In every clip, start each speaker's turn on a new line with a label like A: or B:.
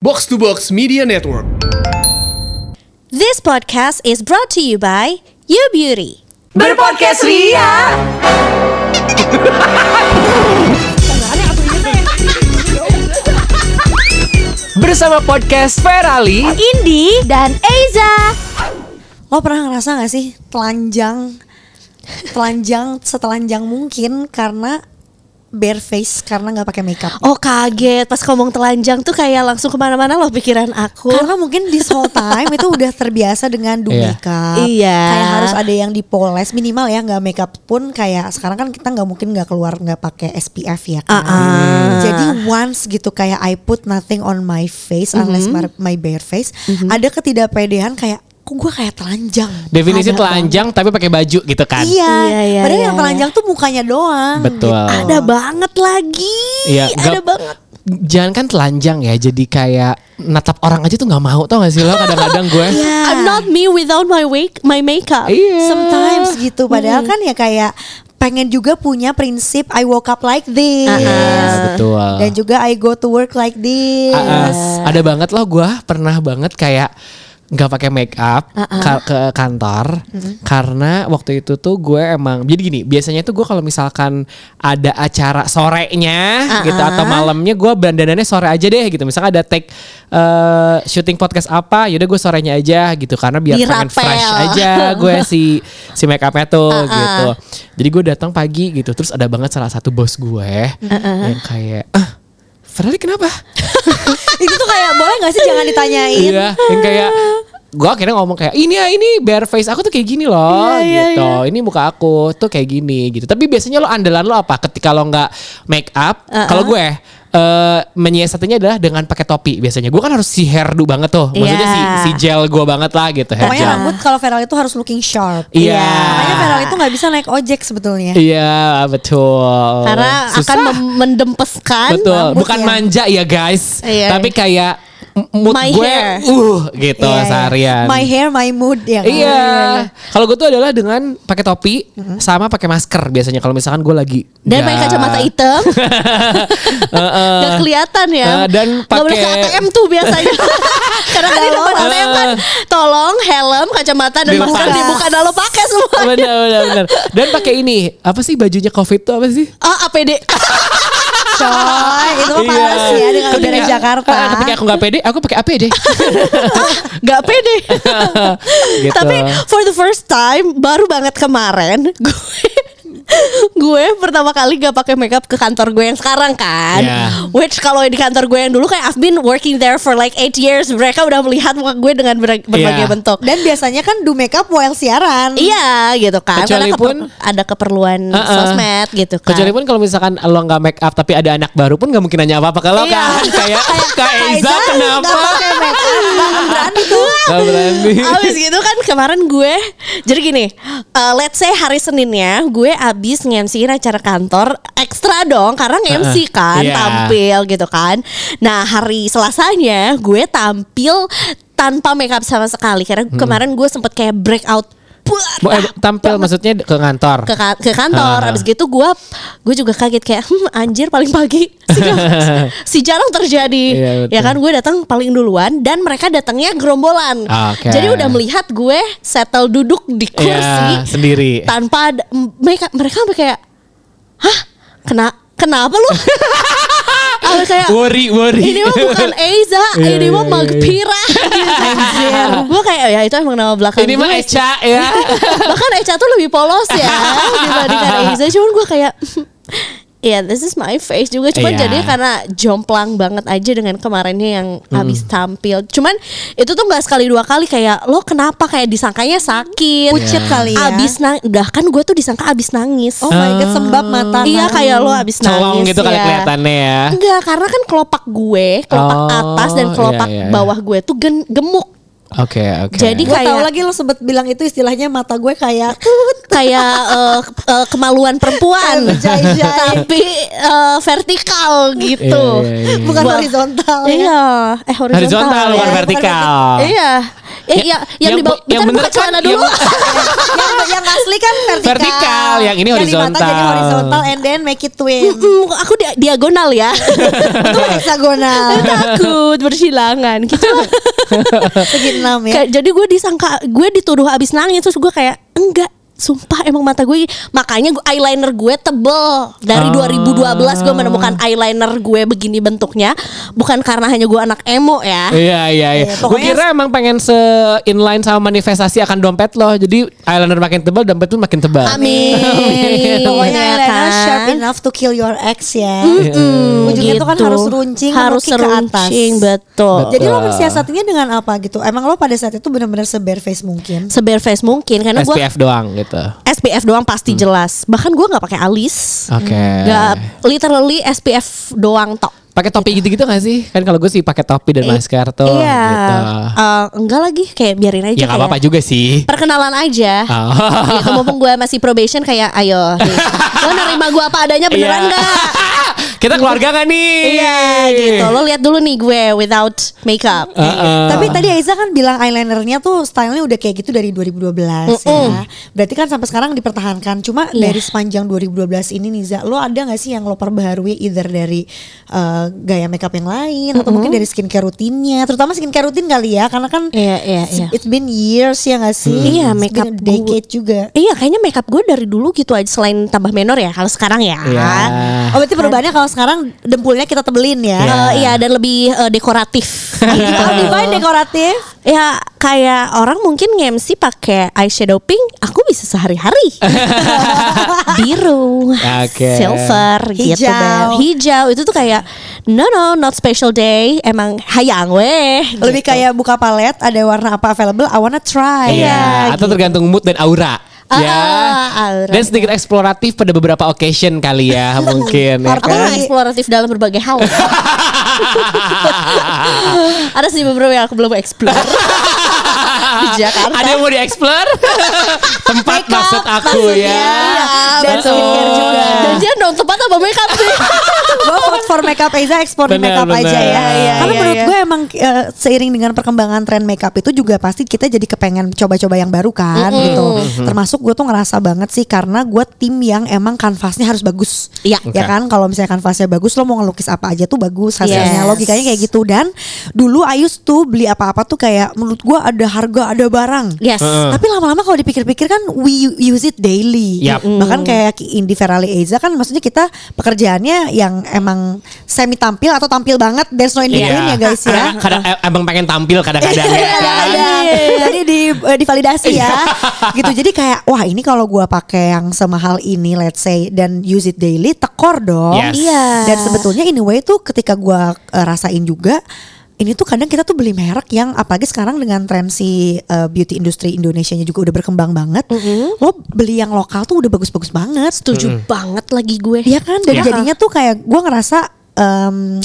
A: Box to Box Media Network.
B: This podcast is brought to you by You Beauty.
C: Berpodcast Ria. Bersama podcast Ferali.
B: Indi dan Eiza. Lo pernah ngerasa gak sih telanjang telanjang setelanjang mungkin karena bare face karena nggak pakai makeup.
D: Oh kaget pas ngomong telanjang tuh kayak langsung kemana-mana loh pikiran aku.
B: Karena mungkin this whole time itu udah terbiasa dengan do
C: Iya.
B: makeup.
D: Iya.
B: Kayak harus ada yang dipoles minimal ya nggak makeup pun kayak sekarang kan kita nggak mungkin nggak keluar nggak pakai SPF ya kan.
D: Ah.
B: Jadi once gitu kayak I put nothing on my face unless my,
D: Mhm.
B: my bare face, ada ketidakpedean kayak kok gue kayak telanjang.
C: Definisi
B: Ada
C: telanjang tapi pakai baju gitu
B: apa?
C: kan.
B: Iya.
D: Iya, iya,
B: Padahal
D: iya,
B: yang
D: iya.
B: telanjang tuh mukanya doang.
C: Betul.
D: Oh. Ada banget lagi.
C: Iya,
D: ada
C: nggak-
D: banget.
C: Jangan kan telanjang ya, jadi kayak natap orang aja tuh nggak mau tau gak sih lo kadang-kadang gue.
D: I'm not me without my wake, my makeup.
C: Iya.
B: Sometimes gitu. Padahal kan ya kayak pengen juga punya prinsip I woke up like this.
C: Iya, betul.
B: Dan juga I go to work like this.
C: Ah, ah, ada banget loh gue pernah banget kayak nggak pakai make up ka- ke kantor karena waktu itu tuh gue emang jadi gini biasanya tuh gue kalau misalkan ada acara sorenya gitu atau malamnya gue bandanannya sore aja deh gitu misalkan ada take eh, syuting podcast apa yaudah gue sorenya aja gitu karena biar pengen
D: Dirapel.
C: fresh aja gue si si make upnya tuh gitu jadi gue datang pagi gitu terus ada banget salah satu bos gue yang kayak ah Ferrari kenapa
B: Itu tuh kayak boleh gak sih jangan ditanyain.
C: Iya, yang kayak gue akhirnya ngomong kayak ini ya ini bare face aku tuh kayak gini loh gitu. Ini muka aku tuh kayak gini gitu. Tapi biasanya lo andalan lo apa ketika lo nggak make up? Kalau gue eh menyiasatinya adalah dengan pakai topi biasanya. Gue kan harus si hairdo banget tuh. Maksudnya si
D: Iya.
C: si gel gue banget lah gitu hair
B: Pokoknya
C: gel.
B: rambut kalau viral itu harus looking sharp.
C: Iya.
B: Makanya viral itu nggak bisa naik ojek sebetulnya.
C: Iya, betul.
D: Karena akan
C: Susah.
D: mem- mendempeskan.
C: Betul,
B: rambut
C: bukan
B: ya.
C: manja ya guys,
D: Iya.
C: tapi kayak m- mood
D: My
C: gue
D: hair.
C: uh gitu
B: Iya, iya.
C: seharian.
B: My hair, my mood ya. kan?
D: Oh,
C: Iya. Kalau gue tuh adalah dengan pakai topi sama pakai masker biasanya kalau misalkan gue lagi
D: Dan pakai
C: nggak-
D: kacamata hitam.
C: Ya. Heeh.
D: Gak kelihatan ya.
C: Eh, dan
D: Nggak boleh ke
C: pakai-
D: ATM tuh biasanya. Karena kan di depan
B: Galon.
D: ATM kan
C: Eh.
D: tolong helm, kacamata dan
C: Dilepas.
D: masker dibuka dan lo pakai semua.
C: Benar benar benar. Dan pakai ini apa sih bajunya covid tuh apa sih?
D: Ah, APD.
B: Coy, Ah, itu
D: Oh,
B: mah panas
C: Iya.
B: ya dengan udara
C: Ketika-
B: Jakarta.
C: Ah, Ketika aku nggak pede, aku pakai APD.
D: Gak pede
C: Gitu.
D: Tapi for the first time Baru banget kemarin Gue Gue pertama kali gak pakai makeup ke kantor gue yang sekarang kan
C: Iya.
D: Which kalau di kantor gue yang dulu kayak I've been working there for like 8 years Mereka udah melihat muka gue dengan ber- berbagai
C: Iya.
D: bentuk
B: Dan biasanya kan do makeup while siaran.
D: Iya gitu kan
C: Kecuali
D: Karena keper-
C: pun-
D: ada keperluan
C: Heeh.
D: sosmed gitu kan
C: Ah, Kecuali pun kalau misalkan lo nggak make up tapi ada anak baru pun nggak mungkin nanya apa-apa kalau
D: Iya.
C: kan kayak Kak Eiza
B: Gak
C: kenapa?
B: pakai makeup, gak berani tuh.
C: Gak berani.
D: Ah, Abis gitu kan kemarin gue Jadi gini eh, Let's say hari Seninnya Gue abis ngemsiin acara kantor Ekstra dong Karena ngemsi
C: Heeh.
D: kan
C: Iya.
D: Tampil gitu kan Nah hari Selasanya Gue tampil Tanpa makeup sama sekali Karena
C: Hmm.
D: kemarin gue sempet kayak breakout
C: Bo- eh, tampil maksudnya ke kantor.
D: ke, ka- ke kantor
C: Ah.
D: abis gitu gue gue juga kaget kayak hmm, anjir paling pagi si, si jarang terjadi
C: Iya, betul.
D: ya kan gue datang paling duluan dan mereka datangnya gerombolan
C: Ah, Oke.
D: jadi udah melihat gue settle duduk di kursi
C: Iya, sendiri.
D: tanpa ada- m- mereka mereka sampai kayak hah kena kenapa lu Sampai kayak
C: Worry, worry.
D: ini mah bukan Eiza,
C: Iya,
D: ini mah
C: iya, iya.
D: Magpira. Anjir. Gue kayak ya itu emang nama belakang
C: Ini mah
D: gue sih."
C: Eca ya.
D: Bahkan Echa tuh lebih polos ya dibandingkan Eiza. Cuman gue kayak Ya this is my face juga Cuman
C: Iya.
D: jadinya karena jomplang banget aja Dengan kemarinnya yang
C: Hmm.
D: habis tampil Cuman itu tuh gak sekali dua kali Kayak lo kenapa kayak disangkanya sakit
B: Pucet kali ya.
D: Abis nangis Udah kan gue tuh disangka abis nangis
B: Oh my
C: Ah.
B: god, sembab mata.
D: Iya
B: nangis.
D: kayak lo abis nangis
C: colong gitu kali
D: ya.
C: kelihatannya ya.
D: Enggak karena kan kelopak gue Kelopak
C: Oh,
D: atas dan
C: iya,
D: kelopak
C: iya, iya.
D: bawah gue tuh gen- gemuk
C: Oke, oke. Iya,
D: Jadi
B: Gue tau
D: kayak-
B: lagi lo sebet bilang itu istilahnya mata gue kayak
D: kayak eh, ke- eh, kemaluan perempuan
B: Kayak berjai-jai.
D: tapi eh, vertikal gitu
C: Iya, iya, iya.
B: bukan
D: Gua-
B: horizontal. ya.
D: iya eh horizontal,
C: horizontal
D: ya.
C: bukan
B: ya.
C: vertikal.
D: iya Eh, ya, yang, di bawah, yang buka
C: kan
D: celana dulu.
B: yang, yang asli kan vertikal.
C: Vertikal, yang ini
B: Yang di mata jadi
C: horizontal.
B: horizontal and then make it twin.
D: Mm, aku dia- diagonal ya.
B: Itu heksagonal.
D: Aku takut bersilangan gitu lah.
B: Segi enam ya.
D: Kayak, jadi gue disangka gue dituduh abis nangis terus gue kayak enggak sumpah emang mata gue makanya gue, eyeliner gue tebel dari
C: Ah.
D: 2012 gue menemukan eyeliner gue begini bentuknya bukan karena hanya gue anak emo ya
C: Iya iya iya.
B: Iya,
C: Gue
B: pokoknya-
C: kira emang pengen se inline sama manifestasi akan dompet lo. Jadi eyeliner makin tebal, dompet tuh makin tebal.
D: amin
B: Pokoknya
D: Ya
B: eyeliner
D: kan?
B: Iya, sharp enough to kill your ex ya.
C: Iya.
D: Mm,
B: Ujungnya tuh kan
D: gitu.
B: harus runcing
D: harus
B: kaki ke atas.
D: runcing betul
C: Betul.
B: Jadi lo mensiasatinya dengan apa gitu? Emang lo pada saat itu benar-benar sebar face mungkin.
D: sebar face mungkin karena gue
C: SPF doang gitu.
D: SPF doang pasti jelas bahkan gue nggak pakai alis
C: Hmm. Oke.
D: nggak literally SPF doang tok
C: Pakai topi gitu-gitu gak sih? Kan kalau gue sih pakai topi dan masker tuh
D: iya
C: gitu.
D: Eh, enggak lagi kayak biarin aja
C: Ya gak
D: kayak
C: apa-apa juga sih.
D: perkenalan aja
C: Oh.
D: Gitu, mumpung gue masih probation kayak ayo nih, lo nerima gue apa adanya beneran
C: Iya.
D: nggak
C: Kita keluarga gak nih?
D: iya gitu lo lihat dulu nih gue without makeup
C: Heeh.
B: Tapi tadi Aiza kan bilang eyelinernya tuh stylenya udah kayak gitu dari 2012 ya. Berarti kan sampai sekarang dipertahankan. Cuma
D: Iya.
B: dari sepanjang 2012 ini Niza, lo ada nggak sih yang lo perbaharui either dari eh, gaya makeup yang lain atau mungkin dari skincare rutinnya, terutama skincare rutin kali ya, karena kan
D: Iya, iya,
B: it's-
D: iya.
B: it's been years ya nggak sih?
D: Iya,
B: It's
D: makeup
B: been a decade juga.
D: Iya kayaknya makeup gue dari dulu gitu aja selain tambah menor ya kalau sekarang ya.
C: Iya.
B: Oh berarti perubahannya kalau sekarang dempulnya kita tebelin ya?
C: Iya.
D: Eh, iya dan lebih eh, dekoratif.
B: Gitu.
D: Gitu.
B: How divine dekoratif?
D: ya kayak orang mungkin ngemsi pakai eyeshadow pink, aku bisa sehari-hari. Biru,
C: Oke.
D: silver, gitu Bel.
B: Hijau.
D: Hijau itu tuh kayak no no not special day, emang hayang weh.
B: Lebih
D: gitu.
B: kayak buka palet, ada warna apa available, I wanna try. Gitu.
C: Iya, atau tergantung mood dan aura.
D: gitu. Ah,
C: ya.
D: ah, aura.
C: Dan sedikit eksploratif pada beberapa occasion kali ya mungkin ya
D: Aku
C: kan.
D: orang eksploratif dalam berbagai hal. Ada sih beberapa yang aku belum explore di Jakarta.
C: Ada yang mau dieksplor? Tempat
D: Makeup,
C: maksud aku
D: maksudnya. iya.
C: ya.
B: Dan
C: Betul. Hmm.
B: skincare juga.
D: Dan jangan dong tempat apa makeup sih.
B: gue vote for makeup Eza ekspor di
C: Benar,
B: makeup aja ya.
C: benar. Iya,
B: Karena
D: iya,
B: menurut
D: iya.
B: gue emang eh, seiring dengan perkembangan tren makeup itu juga pasti kita jadi kepengen coba-coba yang baru kan gitu. Termasuk gue tuh ngerasa banget sih karena gue tim yang emang kanvasnya harus bagus.
D: Iya.
B: Ya kan kalau misalnya kanvasnya bagus lo mau ngelukis apa aja tuh bagus hasilnya.
D: Yes.
B: Logikanya kayak gitu dan dulu Ayus tuh beli apa-apa tuh kayak menurut gue ada harga ada barang.
D: Yes.
C: Heeh.
B: Tapi lama-lama kalau dipikir-pikir kan we use it daily.
C: Yap.
B: Bahkan kayak Indi Ferali Eiza kan maksudnya kita pekerjaannya yang emang semi tampil atau tampil banget there's no in
C: Iya.
B: between ya guys ya.
C: Kadang, kadang eh, abang pengen tampil
D: Iya,
C: kadang-kadang ya kan.
B: Kadang-kadang. Tadi Iya, di eh, divalidasi ya. gitu. Jadi kayak wah ini kalau gua pakai yang semahal ini let's say dan use it daily tekor dong.
C: Yes.
D: Iya.
B: Dan sebetulnya anyway tuh ketika gua eh, rasain juga ini tuh kadang kita tuh beli merek yang apalagi sekarang dengan tren si eh, beauty industry Indonesia-nya juga udah berkembang banget. Lo beli yang lokal tuh udah bagus-bagus banget.
D: setuju banget lagi gue.
C: Ya,
B: Iya kan dan
D: Iya.
B: jadinya tuh kayak gua ngerasa em,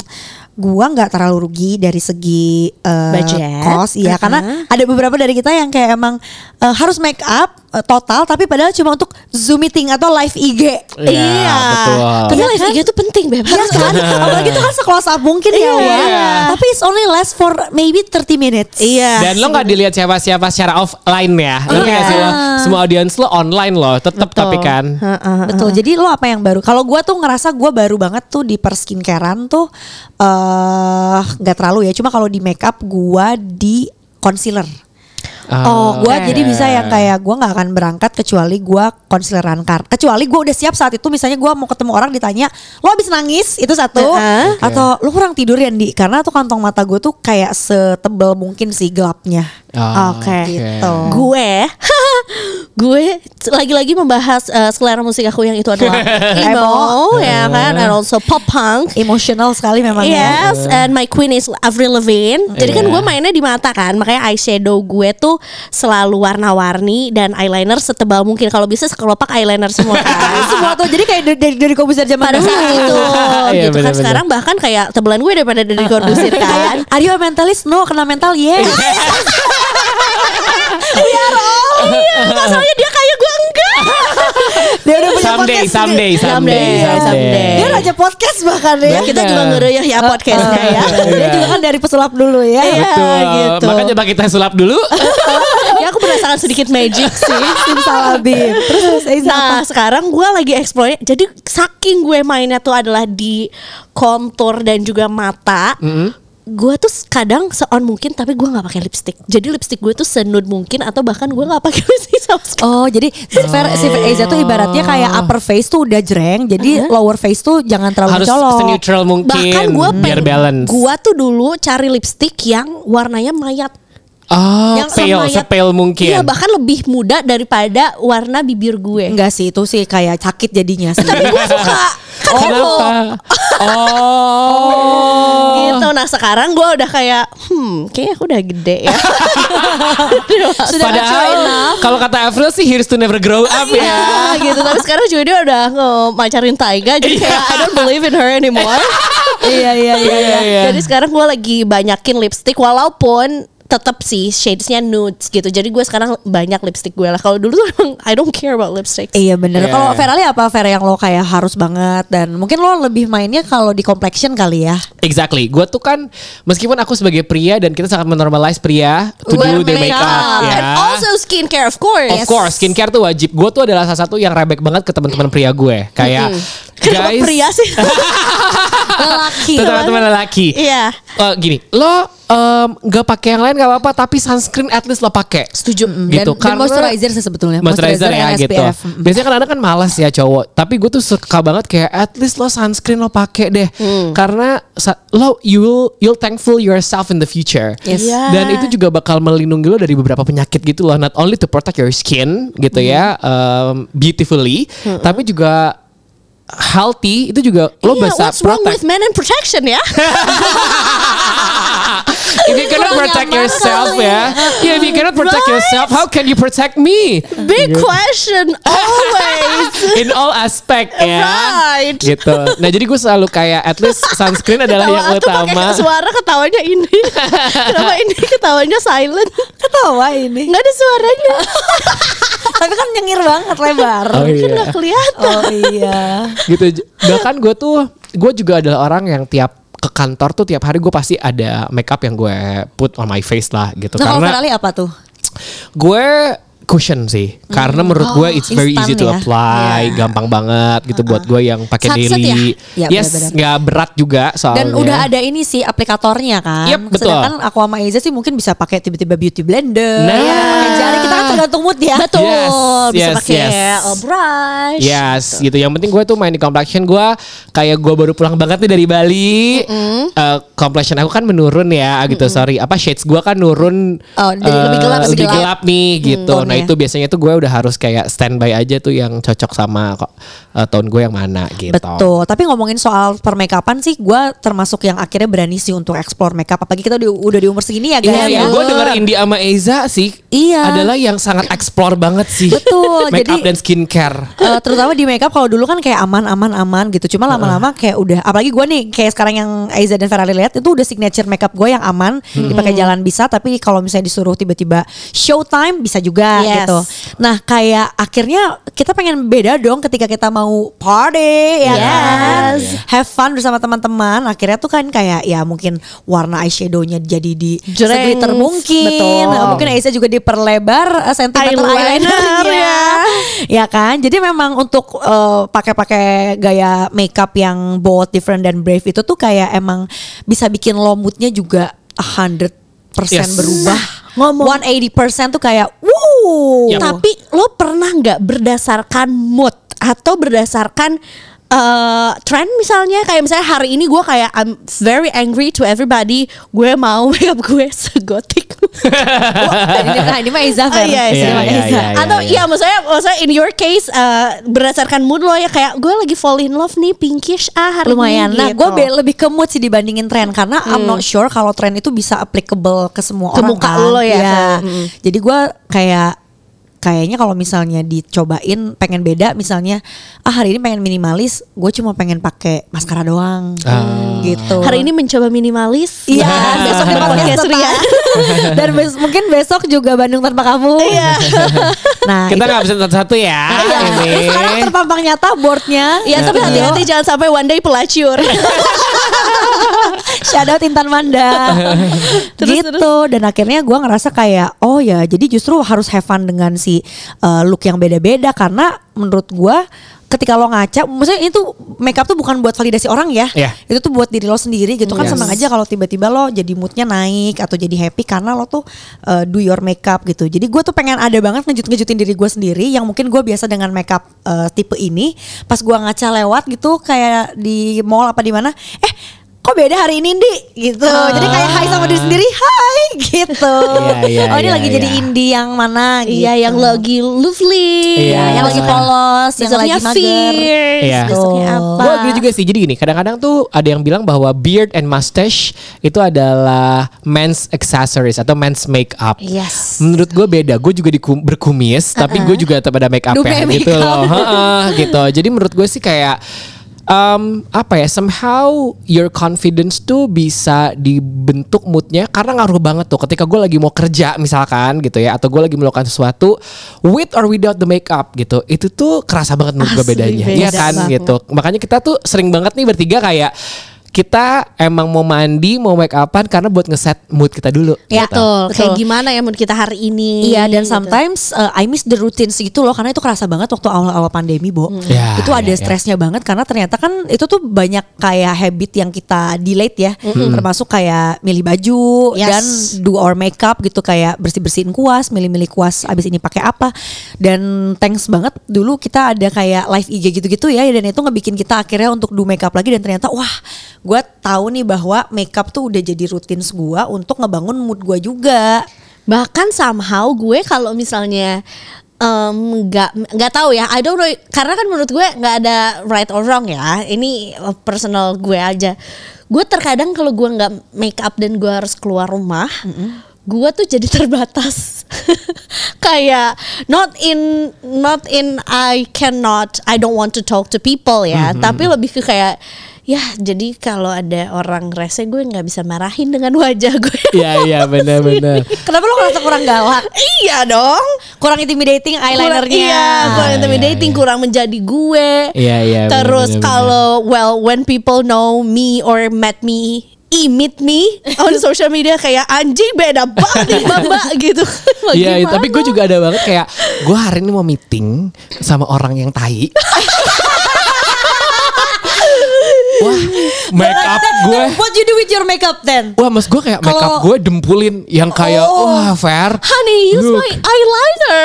B: gua nggak terlalu rugi dari segi eh,
D: Budget.
B: cost ya
D: Uh-uh.
B: karena ada beberapa dari kita yang kayak emang eh, harus make up eh, total tapi padahal cuma untuk zoom meeting atau live IG.
C: Iya, betul.
D: Padahal
B: Iya
D: live
B: kan?
D: IG itu penting bebas.
B: Iya kan? Apalagi itu kan se-close up mungkin ya.
D: Iya.
B: Wak. Tapi it's only last for maybe 30 minutes.
D: Iya.
C: Dan lo nggak dilihat siapa-siapa secara offline ya. Ngerti nggak sih lo?
D: Ah.
C: Semua audiens lo online lo, tetap tapi kan.
B: Betul. Jadi lo apa yang baru? Kalau gua tuh ngerasa gua baru banget tuh di perskincarean tuh eh nggak terlalu ya. Cuma kalau di makeup gua di concealer.
C: Ah,
B: Oh, gua
C: oke.
B: jadi bisa yang kayak gua nggak akan berangkat kecuali gua concealeran kar. Kecuali gua udah siap saat itu misalnya gua mau ketemu orang ditanya, "Lo habis nangis?" Itu satu.
D: Heeh.
B: Atau "Lo kurang tidur ya, Di?" Karena tuh kantong mata gue tuh kayak setebel mungkin sih gelapnya.
C: Ah,
D: Oke.
B: Gitu.
D: Gue, gue lagi-lagi membahas eh, selera musik aku yang itu adalah emo, ya kan, and also pop punk.
B: Emosional sekali memang ya.
D: Yes, and my queen is Avril Lavigne. Jadi kan
C: Eh. Iya.
D: gue mainnya di mata kan, makanya eyeshadow gue tuh selalu warna-warni dan eyeliner setebal mungkin. Kalau bisa sekelopak eyeliner semua kan.
B: semua tuh jadi kayak dari dari, dari Corbuzier zaman
D: Pada
B: dulu.
D: saat itu,
C: Iya,
D: gitu kan.
C: bener-bener.
D: Sekarang bahkan kayak tebelan gue daripada
C: Ah,
D: dari Corbuzier kan.
B: Are you a mentalist? No, kena mental yes.
D: Iya, masalahnya dia kayak gue enggak.
B: Dia udah punya
C: someday,
B: podcast
C: someday,
B: sendiri.
C: someday,
D: Iya, Someday, someday.
B: Dia raja podcast bahkan ya. Eh,
D: Kita
C: Bener.
D: juga ngereyah
C: Ah,
D: ya podcastnya ya.
C: Iya.
B: Dia juga kan dari pesulap dulu ya.
D: Iya.
C: Betul.
D: gitu.
C: Makanya coba kita sulap dulu.
D: ya aku merasakan sedikit magic sih.
B: Simsalabim. Terus terus Eiza apa?
D: Nah sekarang gue lagi explore Jadi saking gue mainnya tuh adalah di kontur dan juga mata Gue tuh kadang seon mungkin tapi gue nggak pakai lipstick. Jadi lipstick gue tuh senud mungkin atau bahkan gue nggak pakai lipstick sama sekali.
B: Oh jadi si Fer, si
C: Oh.
B: Fer Eiza tuh ibaratnya kayak upper face tuh udah jreng Jadi lower face tuh jangan terlalu
C: Harus
B: colok
C: seneutral mungkin
D: Bahkan gue
C: biar balance.
D: Gue tuh dulu cari lipstick yang warnanya mayat.
C: oh,
D: yang
C: pale,
D: semayat-
C: sepale mungkin.
D: Iya bahkan lebih muda daripada warna bibir gue.
B: Enggak sih itu sih kayak sakit jadinya sih
D: Tapi gue suka. Kan
C: Kenapa? Oh.
D: Gitu. Nah sekarang gue udah kayak, hmm, kayaknya aku udah gede ya. Sudah
C: Padahal kalau kata Avril sih here's to never grow up ya.
D: Iya gitu. Tapi sekarang juga dia udah ngemacarin Taiga, jadi kayak I don't believe in her anymore.
B: Iya iya iya
C: Iya, iya.
D: Jadi sekarang gue lagi banyakin lipstick, walaupun tetap sih shadesnya nudes gitu. Jadi gue sekarang banyak lipstick gue lah. Kalau dulu tuh emang I don't care about lipstick.
B: Iya bener
C: Iya.
B: Kalau Vera Lee apa Vera yang lo kayak harus banget Dan mungkin lo lebih mainnya kalau di complexion kali ya
C: Exactly. Gue tuh kan meskipun aku sebagai pria dan kita sangat menormalize pria to
D: Wear
C: do their makeup, ya.
D: And also skincare of course.
C: Of course, skincare tuh wajib. Gue tuh adalah salah satu yang rebek banget ke teman-teman pria gue. Kayak
D: Kenapa
C: guys,
D: pria sih?
B: Lelaki
C: tuh teman-teman lelaki.
D: Iya.
C: Eh, gini, lo em, nggak pakai yang lain gak apa-apa, tapi sunscreen at least lo pakai.
B: Setuju Mm,
C: Gitu,
B: dan, dan
C: karena-
B: moisturizer sih sebetulnya
C: moisturizer
B: yang
C: ya gitu.
B: SPF. Mm.
C: Biasanya kan anak kan malas ya cowok, tapi gue tuh suka banget kayak at least lo sunscreen lo pakai deh,
D: Hmm.
C: karena sa- lo you will you'll thankful yourself in the future.
B: Yes.
D: Iya.
C: Dan itu juga bakal melindungi lo dari beberapa penyakit gitu loh, not only to protect your skin gitu ya,
D: Hmm.
C: um, beautifully, tapi juga healthy itu juga lo
D: Iya,
C: bisa
D: what's wrong with
C: protect.
D: men and protection ya?
C: If you cannot
D: Kurang
C: protect
D: nyaman
C: yourself
D: kali.
C: ya, yeah, if you cannot protect
D: Right.
C: yourself, how can you protect me?
D: Big
C: Gitu.
D: question always.
C: In all aspect ya.
D: Right.
C: Gitu. Nah, jadi gue selalu kayak at least sunscreen adalah yang
D: Ketawa aku
C: utama.
D: pakai suara ketawanya ini. Kenapa ini ketawanya silent?
B: Ketawa ini
D: Nggak ada suaranya.
B: Tapi kan nyengir banget lebar
C: Oh,
D: Kan
C: iya.
D: nggak kelihatan.
B: Oh iya
C: gitu. J- Bahkan gue tuh gue juga adalah orang yang tiap ke kantor tuh tiap hari gue pasti ada makeup yang gue put on my face lah gitu.
B: Nah kalau
C: Karena
B: Vera Lee apa tuh?
C: gue cushion sih karena menurut gue
B: Oh,
C: it's very
B: instan
C: easy to
B: ya. Uh-uh.
C: apply gampang banget gitu buat gue yang pakai
D: Sunset
C: daily
B: ya? Ya,
C: yes
B: benar-benar.
C: nggak berat juga soalnya
B: Dan Kan udah ada ini sih aplikatornya kan.
C: Yep, betul.
B: Sedangkan aku sama Eiza sih mungkin bisa pakai tiba-tiba beauty blender.
C: Nah.
B: Ya, pakai jari kita kan tergantung mood ya.
D: Betul.
C: Yes,
D: Bisa
C: yes,
D: pakai
C: yes.
B: Oh,
D: uh, brush.
C: Yes, gitu. Yang penting gue tuh main di complexion gue kayak gue baru pulang banget nih dari Bali. Eh, complexion aku kan menurun ya, gitu. Sorry, apa shades gue kan nurun.
B: Oh, jadi
C: eh,
B: lebih gelap,
C: lebih
B: gelap. Mm,
C: gelap nih, gitu.
B: tonnya.
C: Nah itu biasanya tuh gue udah harus kayak standby aja tuh yang cocok sama kok eh, tone gue yang mana, gitu.
B: Betul. Tapi ngomongin soal permakeupan sih gue termasuk yang akhirnya berani sih untuk explore makeup apalagi kita udah, udah di umur segini ya guys.
C: Iya,
B: ya.
C: gue denger Indi sama Eiza sih
B: Iya.
C: adalah yang sangat explore banget sih.
B: Betul,
C: Make up
B: jadi-
C: dan skincare.
B: Eh, terutama di makeup kalau dulu kan kayak aman aman aman gitu cuma lama-lama kayak udah apalagi gue nih kayak sekarang yang Aiza dan Ferrari lihat itu udah signature makeup gue yang aman dipakai jalan bisa tapi kalau misalnya disuruh tiba-tiba showtime bisa juga
D: Yes.
B: gitu nah kayak akhirnya kita pengen beda dong ketika kita mau party ya
C: Yes.
B: kan
C: Iya.
B: have fun bersama teman-teman akhirnya tuh kan kayak ya mungkin warna eyeshadownya jadi di
D: Jreng.
B: seglitter
D: Betul.
B: mungkin Eh, mungkin Aiza juga diperlebar eh, sentimeter
D: Eyeliner,
B: eyeliner
D: ya.
B: ya ya kan jadi memang untuk eh, pakai-pakai gaya makeup yang bold different dan brave itu tuh kayak emang bisa bikin lo moodnya juga 100%
C: Yes.
B: berubah Nah,
D: Ngomong-
B: 180% tuh kayak wow
C: Yap.
D: Tapi lo pernah nggak berdasarkan mood atau berdasarkan eh, trend misalnya kayak misalnya hari ini gue kayak I'm very angry to everybody gue mau makeup gue segotik
B: ini, nah, ini mah Iza
D: Oh,
B: Fer.
D: iya,
B: Ini
D: iya,
B: mah
C: iya,
B: Iza.
C: iya.
D: atau iya maksudnya maksudnya in your case eh, berdasarkan mood lo ya kayak gue lagi fall in love nih pinkish ah hari
B: lumayan
D: ini
B: nah
D: gitu. Hmm.
B: gue lebih ke mood sih dibandingin tren karena I'm not sure kalau tren itu bisa applicable ke semua
D: Ke
B: orang
D: muka
B: kan.
D: lo ya,
B: Iya.
D: Fel. Mm.
B: jadi gue kayak kayaknya kalau misalnya dicobain pengen beda misalnya ah hari ini pengen minimalis gue cuma pengen pakai maskara doang
C: Ah.
B: gitu
D: hari ini mencoba minimalis
B: Iya,
D: Nah,
B: besok di podcast tetap.
D: Rian.
B: Dan bes- mungkin besok juga Bandung tanpa kamu. Iya. nah,
C: Kita
B: itu-
C: nggak bisa satu-satu ya.
B: Iya.
C: ini.
B: Terus sekarang terpampang nyata boardnya.
D: Ya tapi
B: Iya.
D: hati-hati jangan sampai one day pelacur.
B: Shout out Intan Manda
D: Terus,
B: Gitu Dan akhirnya gue ngerasa kayak Oh ya jadi justru harus have fun dengan si uh, look yang beda-beda Karena menurut gue ketika lo ngaca Maksudnya itu makeup tuh bukan buat validasi orang ya
C: Iya.
B: Itu tuh buat diri lo sendiri gitu kan
C: Yes.
B: Senang aja kalau tiba-tiba lo jadi moodnya naik Atau jadi happy karena lo tuh uh, do your makeup gitu Jadi gue tuh pengen ada banget ngejut-ngejutin diri gue sendiri Yang mungkin gue biasa dengan makeup uh, tipe ini Pas gue ngaca lewat gitu kayak di mall apa di mana Eh kok beda hari ini Indi gitu jadi kayak hai sama diri sendiri hai gitu
C: Ah. Iya, iya,
B: oh ini
C: iya,
B: lagi
C: iya.
B: jadi indie yang mana gitu.
D: Iya yang lagi lovely,
C: Iya.
B: yang lagi polos yang
D: besoknya
B: lagi mager
D: fierce,
C: Iya.
D: besoknya apa?
C: Gue agree juga sih. Jadi gini, kadang-kadang tuh ada yang bilang bahwa beard and mustache itu adalah men's accessories atau men's makeup.
D: Yes. Uh-uh.
C: Menurut gue beda. Gue juga dikum- berkumis, tapi gue juga tetap ada make up
B: Dupe
C: ya
B: make
C: gitu
B: up.
C: loh. Heeh, gitu. Jadi menurut gue sih kayak um, apa ya somehow your confidence tuh bisa dibentuk moodnya karena ngaruh banget tuh ketika gue lagi mau kerja misalkan gitu ya atau gue lagi melakukan sesuatu with or without the makeup gitu itu tuh kerasa banget menurut gue
D: Asli,
C: bedanya
D: beda
C: Iya kan
B: banget.
C: gitu makanya kita tuh sering banget nih bertiga kayak kita emang mau mandi mau make upan karena buat ngeset mood kita dulu
B: Ya,
C: gitu.
D: Betul. Iya. Kayak
B: Betul.
D: gimana ya mood kita hari ini?
B: Iya dan
D: gitu.
B: sometimes uh, I miss the routines gitu loh karena itu kerasa banget waktu awal-awal pandemi, Bo.
D: Hmm.
C: Ya,
B: itu ada
C: ya, ya.
B: stresnya banget karena ternyata kan itu tuh banyak kayak habit yang kita delete ya,
C: Hmm.
B: termasuk kayak milih baju
D: Hmm. Yes.
B: dan do our makeup gitu kayak bersih-bersihin kuas, milih-milih kuas abis ini pakai apa. Dan thanks banget dulu kita ada kayak live IG gitu-gitu ya dan itu ngebikin kita akhirnya untuk do makeup lagi dan ternyata wah, gue tahu nih bahwa makeup tuh udah jadi rutins gue untuk ngebangun mood gue juga.
D: bahkan somehow gue kalau misalnya em, nggak nggak tahu ya I don't know karena kan menurut gue nggak ada right or wrong ya ini eh, personal gue aja gue terkadang kalau gue nggak make up dan gue harus keluar rumah gue tuh jadi terbatas kayak not in not in I cannot I don't want to talk to people ya
C: Mm-hmm.
D: tapi lebih ke kayak ya jadi kalau ada orang rese gue nggak bisa marahin dengan wajah gue
C: Iya iya benar-benar.
B: Kenapa lo ngerasa kurang galak?
D: Iya dong.
B: Kurang intimidating
D: Kurang,
B: eyelinernya. Oh.
D: iya, kurang
C: iya,
D: intimidating,
C: iya.
D: kurang menjadi gue.
C: Iya, iya,
D: Terus
C: bener-bener.
D: kalau well when people know me or met me imit me on social media kayak anjing beda banget nih mbak gitu.
B: Oh,
C: Iya,
D: Gimana?
C: tapi gue juga ada banget kayak gue hari ini mau meeting sama orang yang tai. Wah, make up gue.
B: What you do with your makeup then?
C: Wah, mas gue kayak make up
B: Kalau-
C: gue dempulin yang kayak
B: Oh.
C: wah fair.
D: Honey, use
C: Look.
D: my eyeliner.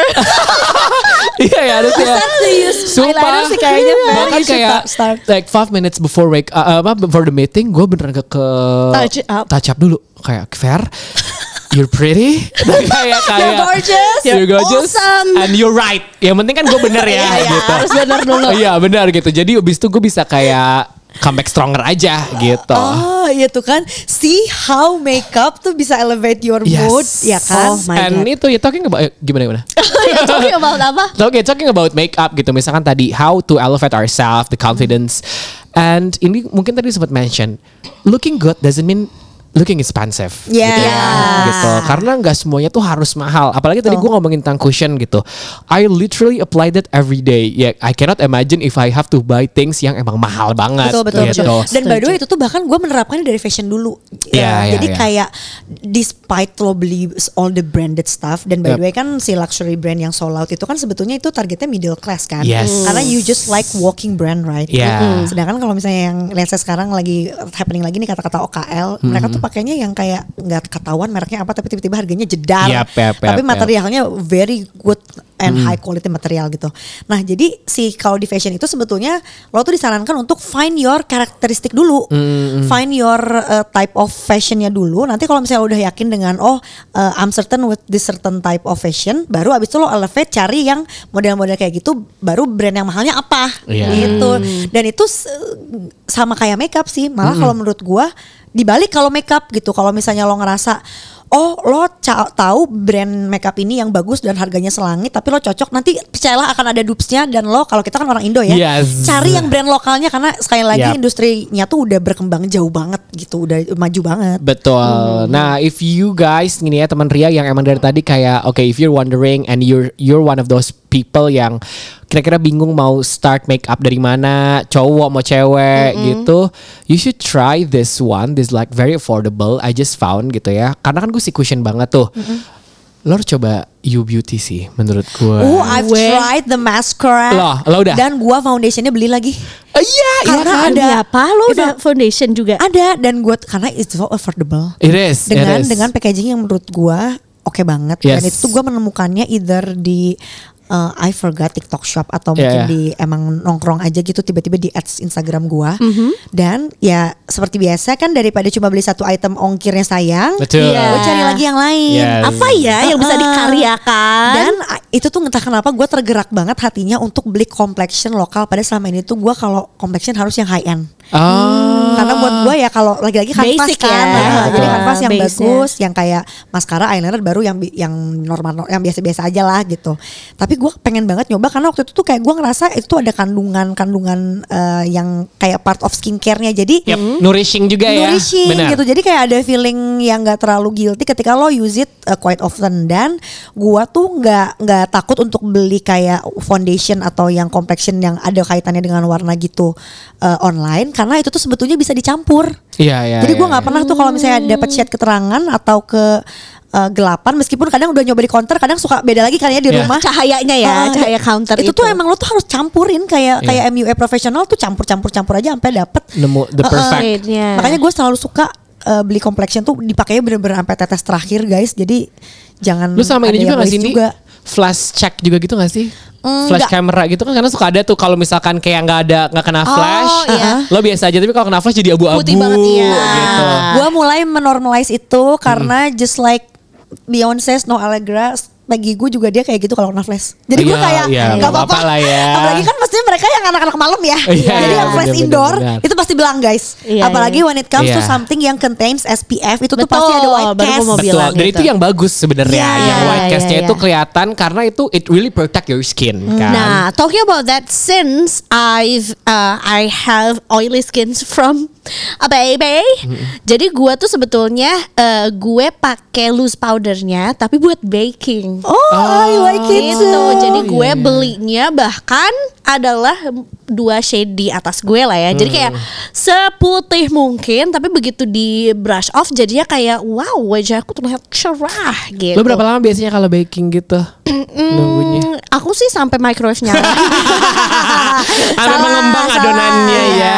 C: Iya ya harusnya.
B: eyeliner sih kayaknya,
D: Iya.
B: Fer.
C: Bahkan
B: You should
C: kayak
B: start.
C: like five minutes before wake uh, apa before the meeting gue beneran ke, ke
D: Touch up.
B: ah,
C: touch up dulu kayak fair. You're pretty. kayak kayak
B: You're gorgeous.
C: You're gorgeous.
D: awesome.
C: And you're right. Yang penting kan gue bener ya
D: Iya, iya,
C: gitu.
D: harus bener dulu.
C: Iya benar gitu. Jadi abis itu gue bisa kayak comeback stronger aja gitu.
B: Oh iya tuh kan See how makeup tuh bisa elevate your
C: Yes.
B: mood Ya kan
D: Oh my
C: And itu ya talking about eh, gimana gimana?
D: ya, talking about apa?
B: Nah.
C: Oke, talking about makeup gitu. Misalkan tadi how to elevate ourselves, the confidence. And ini mungkin tadi sempat mention, looking good doesn't mean looking expensive.
B: Yeah.
C: Gitu, ya,
B: Yeah.
C: gitu. Karena nggak semuanya tuh harus mahal. Apalagi tadi
B: Betul.
C: gue ngomongin tentang cushion gitu. I literally apply that every day. Ya, I cannot imagine if I have to buy things yang emang mahal banget.
B: Betul betul
C: gitu.
B: betul. Dan by the way itu tuh bahkan gue menerapkannya dari fashion dulu. Eh,
C: Iya, iya,
B: Jadi
C: iya.
B: kayak despite lo beli all the branded stuff dan by
C: Yep.
B: the way kan si luxury brand yang sold out itu kan sebetulnya itu targetnya middle class kan.
C: Yes.
B: Karena you just like walking brand right.
C: Yeah. Mm.
B: Sedangkan kalau misalnya yang lihat saya sekarang lagi happening lagi nih kata-kata OKL, mereka
C: Hmm.
B: tuh pakainya yang kayak nggak ketahuan mereknya apa tapi tiba-tiba harganya jedar.
C: Yap, yap, yap,
B: tapi
C: yap.
B: materialnya very good and
C: Hmm.
B: high quality material gitu. Nah, jadi si kalau di fashion itu sebetulnya lo tuh disarankan untuk find your karakteristik dulu.
C: Hmm,
B: Find your uh, type of fashionnya dulu. Nanti kalau misalnya udah yakin dengan oh uh, I'm certain with this certain type of fashion, baru abis itu lo elevate cari yang model-model kayak gitu, baru brand yang mahalnya apa
C: Iya.
B: gitu. Dan itu s- eh,
C: Hmm.
B: sama kayak makeup sih. Malah kalau menurut gua dibalik kalau makeup gitu. Kalau misalnya lo ngerasa oh lo ca- tahu brand makeup ini yang bagus dan harganya selangit tapi lo cocok nanti percayalah akan ada dupesnya dan lo kalau kita kan orang Indo ya
C: Yes.
B: cari yang brand lokalnya karena sekali lagi
C: Yap.
B: industrinya tuh udah berkembang jauh banget gitu udah maju banget
C: Betul.
B: Hmm.
C: Nah, if you guys gini ya teman Ria yang emang dari tadi kayak oke if you're wondering and you're you're one of those people yang kira-kira bingung mau start make up dari mana, cowok mau cewek gitu, you should try this one. This like very affordable. I just found gitu ya. Karena kan gue sih cushion banget tuh. Lo harus coba You Beauty sih menurut gue.
B: Oh, I've
D: Gue-
B: tried the mascara.
C: Loh, lo udah?
B: Dan gua foundationnya beli lagi.
C: Eh, Iya, iya
B: Karena
C: kan?
B: ada-
D: Demi apa lo
B: Itu-
D: udah foundation juga?
B: Ada dan gua karena it's so affordable.
C: It is. it
B: Dengan
C: is.
B: dengan packaging yang menurut gua oke banget. Dan
C: Yes.
B: itu gua menemukannya either di uh, I forgot TikTok shop atau mungkin
C: Yeah, yeah.
B: di emang nongkrong aja gitu tiba-tiba di ads Instagram gua.
C: Mm-hmm.
B: Dan ya seperti biasa kan daripada cuma beli satu item ongkirnya sayang,
C: Betul.
D: Iya.
B: gua cari lagi yang lain.
C: Yes.
D: Apa ya yang bisa
B: Uh-uh.
D: dikaryakan?
B: Dan ah, itu tuh entah kenapa gue tergerak banget hatinya untuk beli complexion lokal. Padahal selama ini tuh gue kalau complexion harus yang high end.
C: Ah.
B: Karena buat gue ya kalau lagi-lagi kanvas
D: Basic
B: kan,
D: ya.
B: Ah, jadi
C: Betul.
B: kanvas yang
D: Base-nya.
B: bagus, yang kayak maskara, eyeliner baru yang bi- yang normal, yang biasa-biasa aja lah gitu. Tapi gue pengen banget nyoba karena waktu itu tuh kayak gue ngerasa itu ada kandungan-kandungan eh, yang kayak part of skincare-nya. Jadi
C: Yep, nourishing juga ya.
B: nourishing
C: Benar.
B: gitu. Jadi kayak ada feeling yang gak terlalu guilty ketika lo use it uh, quite often dan gua tuh nggak nggak takut untuk beli kayak foundation atau yang complexion yang ada kaitannya dengan warna gitu uh, online karena itu tuh sebetulnya bisa dicampur.
C: Iya, iya.
B: Jadi
C: iya,
B: gua nggak
C: iya.
B: pernah tuh kalau misalnya dapat chat keterangan atau ke uh, gelapan meskipun kadang udah nyoba di counter kadang suka beda lagi kan ya di
C: Iya.
B: rumah
D: cahayanya ya,
B: Ah,
D: cahaya counter itu.
B: itu, tuh emang lo tuh harus campurin kayak
C: Iya.
B: kayak MUA profesional tuh campur campur campur aja sampai dapet uh,
C: nemu the
B: Heeh.
C: perfect.
D: Akhirnya.
B: Makanya gue selalu suka uh, beli complexion tuh dipakainya bener-bener sampai tetes terakhir guys. Jadi jangan
C: Lu sama ini
B: ada yang
C: juga gak
B: waste
C: sih Indi? Flash check juga gitu gak sih?
B: Enggak.
C: flash camera gitu kan karena suka ada tuh kalau misalkan kayak nggak ada nggak kena flash,
D: iya.
C: lo biasa aja tapi kalau kena flash jadi abu-abu
D: Putih banget, iya.
C: gitu.
B: Gue Ah, mulai menormalize itu
C: Hmm.
B: karena just like Beyonce's No Allegra bagi gue juga dia kayak gitu kalau kena flash. Jadi gue
C: Iya,
B: kayak
C: iya,
B: nggak
C: nggak
B: apa-apa
C: apa-apa lah ya.
B: Apalagi kan maksudnya mereka yang anak-anak malam ya.
C: Iya,
B: Jadi yang flash
C: bener-bener.
B: indoor itu pasti belang guys.
D: Iya,
B: Apalagi
D: iya.
B: when it comes to
C: Iya.
B: something yang contains SPF itu
D: Betul,
B: tuh pasti ada white
D: baru
B: cast.
D: gua mau
C: Betul.
D: bilang
C: Dan
D: gitu.
C: itu yang bagus
B: Oh,
C: sebenarnya
B: Iya.
C: yang white
D: Iya,
C: castnya
D: iya,
C: itu
D: iya.
C: kelihatan karena itu it really protect your skin kan.
D: Nah, talking about that, since I've uh, I have oily skins from a baby, jadi gue tuh sebetulnya uh, gue pakai loose powdernya, tapi buat baking.
B: Oh, I like it
D: gitu.
B: too.
D: Jadi gue
C: iya, iya.
D: belinya bahkan adalah dua shade di atas gue lah ya. Jadi
C: Hmm.
D: kayak seputih mungkin, tapi begitu di brush off jadinya kayak wow wajahku terlihat cerah gitu.
C: Lo berapa lama biasanya kalau baking gitu nunggunya?
D: Hmm, aku sih sampai microwave nyala.
C: Sampai mengembang adonannya ya.
D: Iya,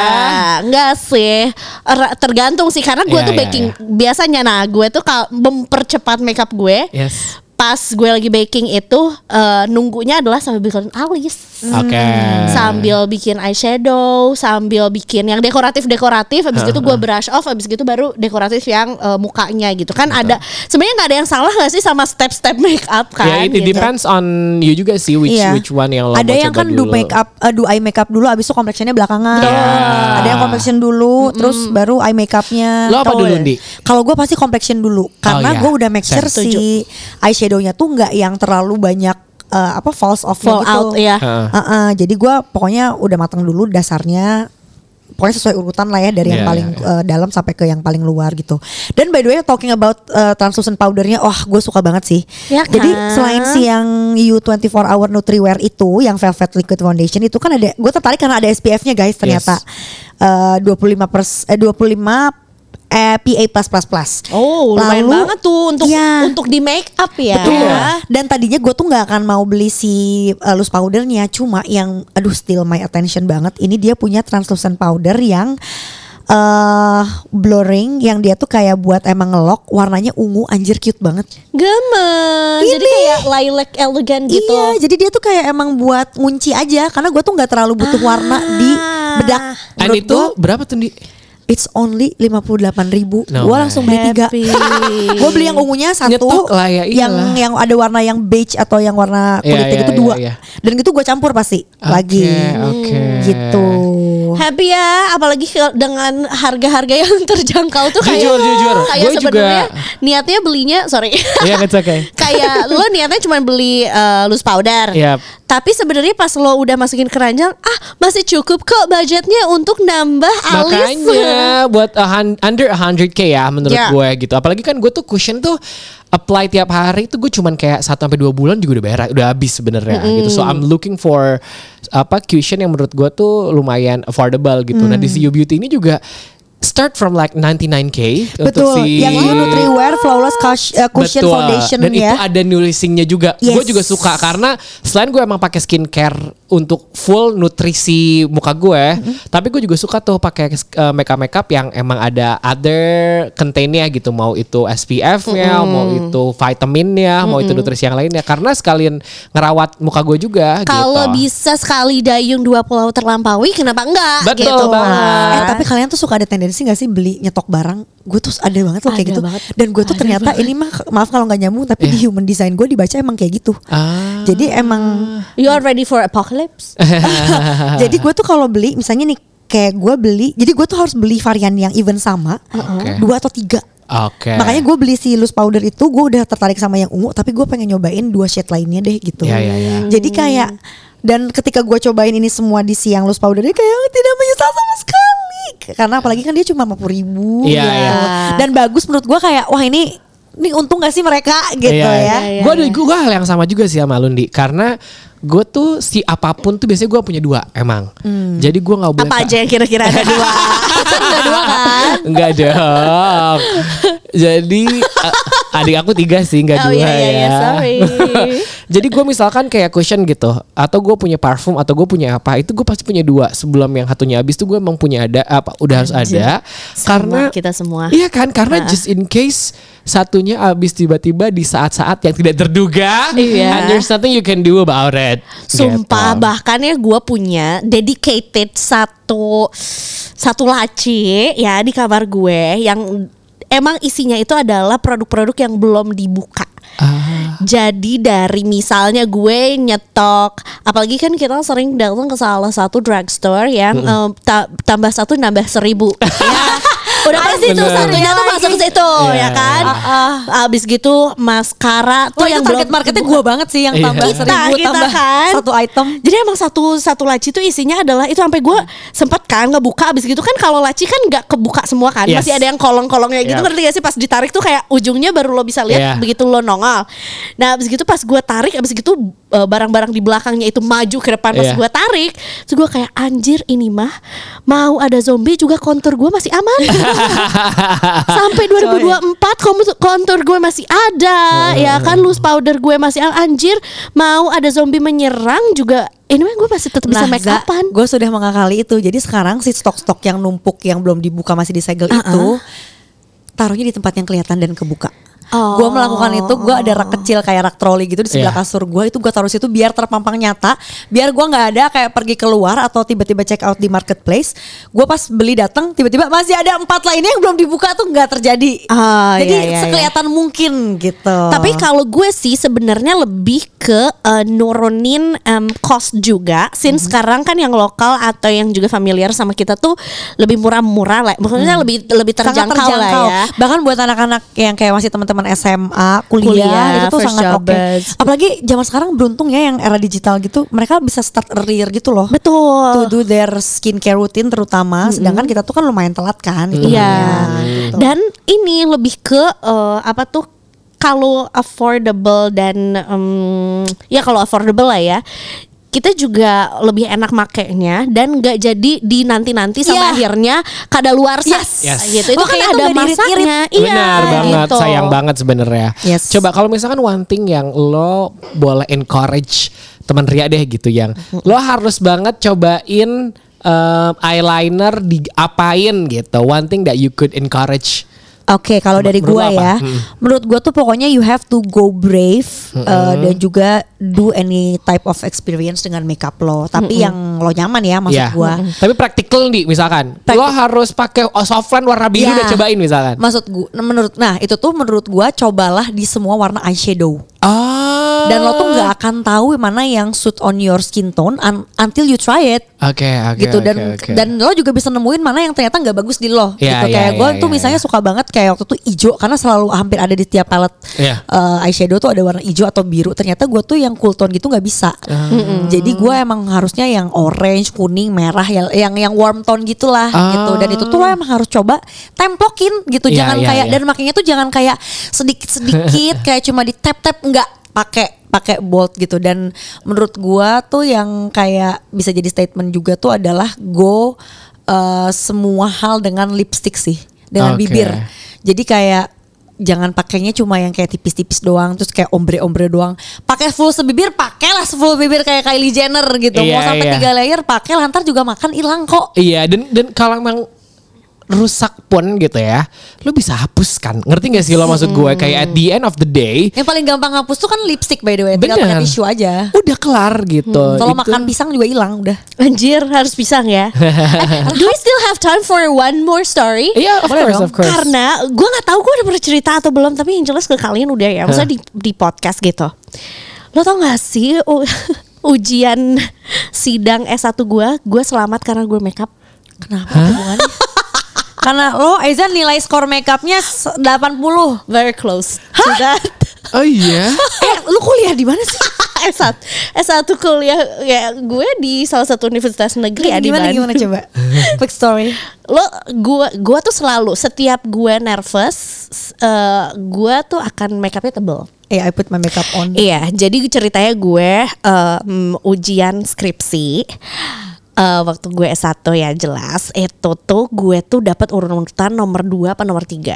D: Enggak sih. Er- Tergantung sih karena gue
C: Ya,
D: tuh
C: ya,
D: baking biasanya nah gue tuh kalau mempercepat makeup gue
C: Yes.
D: pas gue lagi baking itu eh, nunggunya adalah sambil bikin alis.
C: Oke.
D: Sambil bikin eyeshadow, sambil bikin yang dekoratif-dekoratif, habis itu gue brush off, habis gitu baru dekoratif yang eh, mukanya gitu kan ada. Sebenarnya nggak ada yang salah nggak sih sama step-step make up kan?
C: Ya it, it
D: gitu.
C: depends on you juga sih which
B: Iya.
C: which one yang lo
B: ada
C: mau
B: yang kan
C: coba
B: do
C: dulu. Iya.
B: make up eh, do eye makeup dulu abis itu complectionnya belakangan
C: Betul.
B: ada yang complexion dulu terus baru eye makeupnya
C: Lo apa
B: Betul.
C: dulu, Di?
B: kalau gue pasti complexion dulu karena
C: iya.
B: gue udah make sure
D: Setuju.
B: si eyeshadownya tuh nggak yang terlalu banyak eh, apa false off
D: Fall out, iya.
C: Heeh.
B: Heeh, jadi gue pokoknya udah matang dulu dasarnya pokoknya sesuai urutan lah ya dari yang
C: Iya,
B: paling
C: iya,
B: eh, dalam sampai ke yang paling luar gitu. Dan by the way talking about eh, translucent powdernya, wah gue suka banget sih.
D: Ya
B: Jadi
D: kan?
B: selain si yang you 24 hour nutriwear itu, yang velvet liquid foundation itu kan ada, gue tertarik karena ada SPF-nya guys ternyata Eh, 25 pers, eh, 25 eh, PA plus plus plus.
D: Oh, lumayan
B: Lalu-
D: banget tuh untuk
B: Iya.
D: untuk di make up ya.
B: Betul. Dan tadinya gue tuh nggak akan mau beli si uh, loose powdernya, cuma yang aduh still my attention banget. Ini dia punya translucent powder yang eh blurring yang dia tuh kayak buat emang ngelok warnanya ungu anjir cute banget.
D: Gemes. Jadi
B: Ini.
D: kayak lilac elegan gitu.
B: Iya, jadi dia tuh kayak emang buat ngunci aja karena gue tuh nggak terlalu butuh warna di bedak.
C: Dan
B: Menurut
C: Ah. itu
B: gua,
C: berapa tuh di?
B: it's only lima puluh ribu.
C: No
B: gue
C: way.
B: langsung beli tiga.
D: Happy.
B: gue beli yang ungunya satu,
C: Nyetok lah ya,
B: yang
C: iyalah.
B: yang ada warna yang beige atau yang warna
C: Iya,
B: kulitnya
C: iya,
B: gitu
C: iya,
B: dua.
C: iya.
B: Dan gitu gue campur pasti lagi.
C: oke.
B: Gitu.
C: Oh.
D: Happy ya, apalagi ke- dengan harga-harga yang terjangkau tuh kayak
C: Jujur, jujur.
D: kayak
C: Gua juga-
D: sebenarnya niatnya belinya sorry.
C: Iya, it's okay.
D: kayak lo niatnya cuma beli eh, loose powder.
C: Yap.
D: Tapi sebenarnya pas lo udah masukin keranjang, ah masih cukup kok budgetnya untuk nambah alis.
C: Makanya buat a hun- under 100k ya menurut
D: Ya.
C: gue gitu. Apalagi kan gue tuh cushion tuh apply tiap hari tuh gue cuman kayak 1 sampai 2 bulan juga udah beres, udah habis sebenarnya gitu. So I'm looking for apa cushion yang menurut gue tuh lumayan affordable gitu. Nah, di CU Beauty ini juga start from like 99k untuk
B: Betul.
C: si
B: Yang itu Nutriwear Flawless Cush- eh, Cushion
C: Betul.
B: Foundation
C: dan
B: ya.
C: itu ada nulisingnya juga
B: Yes.
C: gue juga suka karena selain gue emang pakai skincare untuk full nutrisi muka gue tapi gue juga suka tuh pakai eh, makeup makeup yang emang ada other containnya gitu mau itu SPF-nya ya, mau itu vitaminnya mau itu nutrisi yang lainnya karena sekalian ngerawat muka gue juga
D: Kalau
C: gitu.
D: bisa sekali dayung dua pulau terlampaui, kenapa enggak?
C: Betul
D: gitu.
B: Eh
C: banget.
B: tapi kalian tuh suka ada tendensi gak sih beli nyetok barang? Gue tuh ada banget loh kayak
D: Ada
B: gitu.
D: banget.
B: Dan gue tuh ternyata ini mah maaf kalau nggak nyambung tapi di human design gue dibaca emang kayak gitu.
C: Iya. Ah.
B: Jadi emang
D: You are ready for apocalypse?
C: Ah.
B: jadi gue tuh kalau beli misalnya nih kayak gue beli jadi gue tuh harus beli varian yang even sama
C: Oke.
B: dua atau tiga.
C: Oke.
B: Makanya gue beli si loose powder itu gue udah tertarik sama yang ungu tapi gue pengen nyobain dua shade lainnya deh gitu.
C: Iya, iya, iya.
B: Jadi kayak dan ketika gue cobain ini semua di siang loose powder ini kayak tidak menyesal sama sekali karena apalagi kan dia cuma 50.000 ribu gitu.
C: Iya, iya.
B: dan bagus menurut gue kayak wah ini ini untung gak sih mereka gitu
D: iya,
B: ya.
C: Gue ada gue hal yang sama juga sih sama Lundi karena gue tuh si apapun tuh biasanya gue punya dua emang. Jadi gue nggak boleh
D: Apa aja yang kira-kira ada dua? ada dua kan?
C: Enggak dong. Jadi eh, adik aku tiga sih,
D: Oh,
C: enggak dua
D: iya, iya,
C: ya.
D: iya, sorry.
C: Jadi gue misalkan kayak cushion gitu, atau gue punya parfum, atau gue punya apa, itu gue pasti punya dua. Sebelum yang satunya habis tuh gue emang punya ada apa, udah harus ada.
D: Sama
C: karena
D: kita semua.
C: Iya kan, karena just in case satunya habis tiba-tiba di saat-saat yang tidak terduga,
D: Iya.
C: and there's nothing you can do about it.
D: Sumpah
C: Gitu.
D: bahkan ya gue punya dedicated satu satu laci ya di kamar gue yang emang isinya itu adalah produk-produk yang belum dibuka.
C: Ah,
D: Jadi dari misalnya gue nyetok, apalagi kan kita sering datang ke salah satu drugstore yang eh, ta- tambah satu nambah seribu. ya. Udah pasti itu
C: Bener.
D: satunya tuh masuk ke situ
C: Iya.
D: ya kan. Abis gitu maskara tuh
B: Wah,
D: yang
B: Ah, Oh, itu target
D: belum-
B: marketnya gue banget sih yang
C: Iya.
B: tambah
C: Kita,
B: seribu
D: kita
B: tambah
D: kan.
B: satu item.
D: Jadi emang satu satu laci tuh isinya adalah itu sampai gue sempat kan ngebuka abis gitu kan kalau laci kan nggak kebuka semua kan
C: Yes. Iya.
D: masih ada yang kolong-kolongnya gitu
C: Yep.
D: ngerti gak sih pas ditarik tuh kayak ujungnya baru lo bisa lihat
C: Yeah.
D: begitu lo nongol. Nah abis gitu pas gue tarik abis gitu eh, barang-barang di belakangnya itu maju ke depan pas
C: Yeah.
D: gue tarik terus gue kayak anjir ini mah mau ada zombie juga kontur gue masih aman sampai 2024 kontur- kontur gue masih
B: Ah.
D: ada ya kan loose powder gue masih ah, anjir mau ada zombie menyerang juga ini anyway, gue masih tetap bisa make upan
B: gue sudah mengakali itu. Jadi sekarang si stok-stok yang numpuk yang belum dibuka masih disegel
D: Ah,
B: itu taruhnya di tempat yang kelihatan dan kebuka.
D: Oh.
B: Gue melakukan itu, gue ada rak kecil kayak rak troli gitu di sebelah
C: Iya.
B: kasur gue itu gue taruh situ biar terpampang nyata, biar gue nggak ada kayak pergi keluar atau tiba-tiba check out di marketplace. Gue pas beli datang tiba-tiba masih ada empat lainnya yang belum dibuka tuh nggak terjadi.
D: Ah,
B: Jadi
D: iya, iya, iya.
B: sekelihatan mungkin gitu.
D: Tapi kalau gue sih sebenarnya lebih ke eh, nurunin em, cost juga.
B: Mm-hmm.
D: Since sekarang kan yang lokal atau yang juga familiar sama kita tuh lebih murah-murah lah. Maksudnya lebih lebih
B: Hmm. Sangat
D: terjangkau, lah ya.
B: Bahkan buat anak-anak yang kayak masih teman-teman SMA, kuliah,
D: Kuliah,
B: itu tuh
D: first
B: sangat oke.
D: jobbers.
B: Apalagi zaman sekarang beruntung ya yang era digital gitu, mereka bisa start earlier gitu loh.
D: Betul.
B: To do their skincare routine terutama, sedangkan kita tuh kan lumayan telat kan. gitu
D: Iya.
B: ya, gitu.
D: Dan ini lebih ke eh, apa tuh kalau affordable dan em, ya kalau affordable lah ya. Kita juga lebih enak makainya dan nggak jadi di nanti-nanti
B: Iya.
D: sampai akhirnya kada luar
B: Yes.
C: Yes.
D: gitu. Itu
B: Makanya
D: kayak
B: tuh
D: ada
B: nggak diirit-irit.
D: masaknya. Iya,
C: Benar banget,
D: gitu.
C: sayang banget sebenarnya.
B: Yes.
C: Coba kalau misalkan one thing yang lo boleh encourage teman Ria deh gitu yang lo harus banget cobain um, eyeliner diapain gitu. One thing that you could encourage.
B: Oke, kalau dari
C: Menurut
B: gua
C: lu apa?
B: ya,
D: Mm.
B: menurut gua tuh pokoknya you have to go brave uh, dan juga do any type of experience dengan makeup lo, tapi yang lo nyaman ya maksud
D: Iya.
C: Ya.
B: gua.
C: Tapi praktikal nih misalkan. Lo
B: Praktik-
C: harus pakai softlens warna biru
B: Iya.
C: udah cobain misalkan.
B: Maksud gua menurut nah itu tuh menurut gua cobalah di semua warna eyeshadow.
C: Ah.
B: Dan lo tuh nggak akan tahu mana yang suit on your skin tone un- until you try it.
C: Oke, oke.
B: gitu dan
C: oke, oke.
B: dan lo juga bisa nemuin mana yang ternyata nggak bagus di lo
C: Iya,
B: gitu
C: iya,
B: kayak gue
C: iya,
B: tuh
C: iya,
B: misalnya
C: iya.
B: suka banget kayak waktu tuh ijo karena selalu hampir ada di tiap palette
C: Iya.
B: eh, eyeshadow tuh ada warna ijo atau biru ternyata gue tuh yang cool tone gitu nggak bisa
C: Ah.
B: jadi gue emang harusnya yang orange kuning merah ya yang yang warm tone gitulah
C: Ah.
B: gitu dan itu tuh lo emang harus coba templokin gitu
C: Iya,
B: jangan
C: iya,
B: kayak
C: iya.
B: dan makanya tuh jangan kayak sedikit sedikit kayak cuma di tap tap nggak pakai pakai bold gitu dan menurut gua tuh yang kayak bisa jadi statement juga tuh adalah go uh, semua hal dengan lipstick sih dengan
C: Oke.
B: bibir jadi kayak jangan pakainya cuma yang kayak tipis-tipis doang terus kayak ombre-ombre doang pakai full sebibir pakailah full bibir kayak Kylie Jenner gitu mau
C: Iya,
B: sampai
C: iya.
B: tiga layer pakai lantar juga makan hilang kok
C: Iya, dan dan kalau emang rusak pun gitu ya, lo bisa hapus kan? Ngerti gak sih lo
B: Hmm.
C: maksud gue? Kayak at the end of the day,
B: yang paling gampang hapus tuh kan lipstick by the way tinggal pakai
C: Bener.
B: tisu aja
C: udah kelar gitu.
B: Hmm, kalau
C: Itu-
B: makan pisang juga hilang udah
D: Anjir harus pisang ya. Eh, Do we still have time for one more story?
C: Iya, of
B: Boleh
C: course,
B: dong.
C: of course.
D: Karena gue nggak tahu gue udah pernah cerita atau belum, tapi yang jelas ke kalian udah ya, maksudnya di, di podcast gitu. Lo tau gak sih u- ujian sidang S1 gue, gue selamat karena gue makeup.
B: Kenapa hubungannya? Karena lo Aizan nilai skor makeupnya se- 80
D: Very close to that.
C: Oh iya.
B: Eh lu kuliah di mana sih?
D: S1, S1 kuliah ya gue di salah satu universitas negeri ya, di
B: Kan gimana
D: Bandung.
B: gimana coba? Quick story
D: lo gua gua tuh selalu setiap gua nervous s- eh, gua tuh akan make upnya tebel
B: Eh I put my makeup on
D: iya jadi ceritanya gue em, ujian skripsi eh, waktu gue S1 ya jelas itu tuh gue tuh dapat urutan nomor 2 apa nomor 3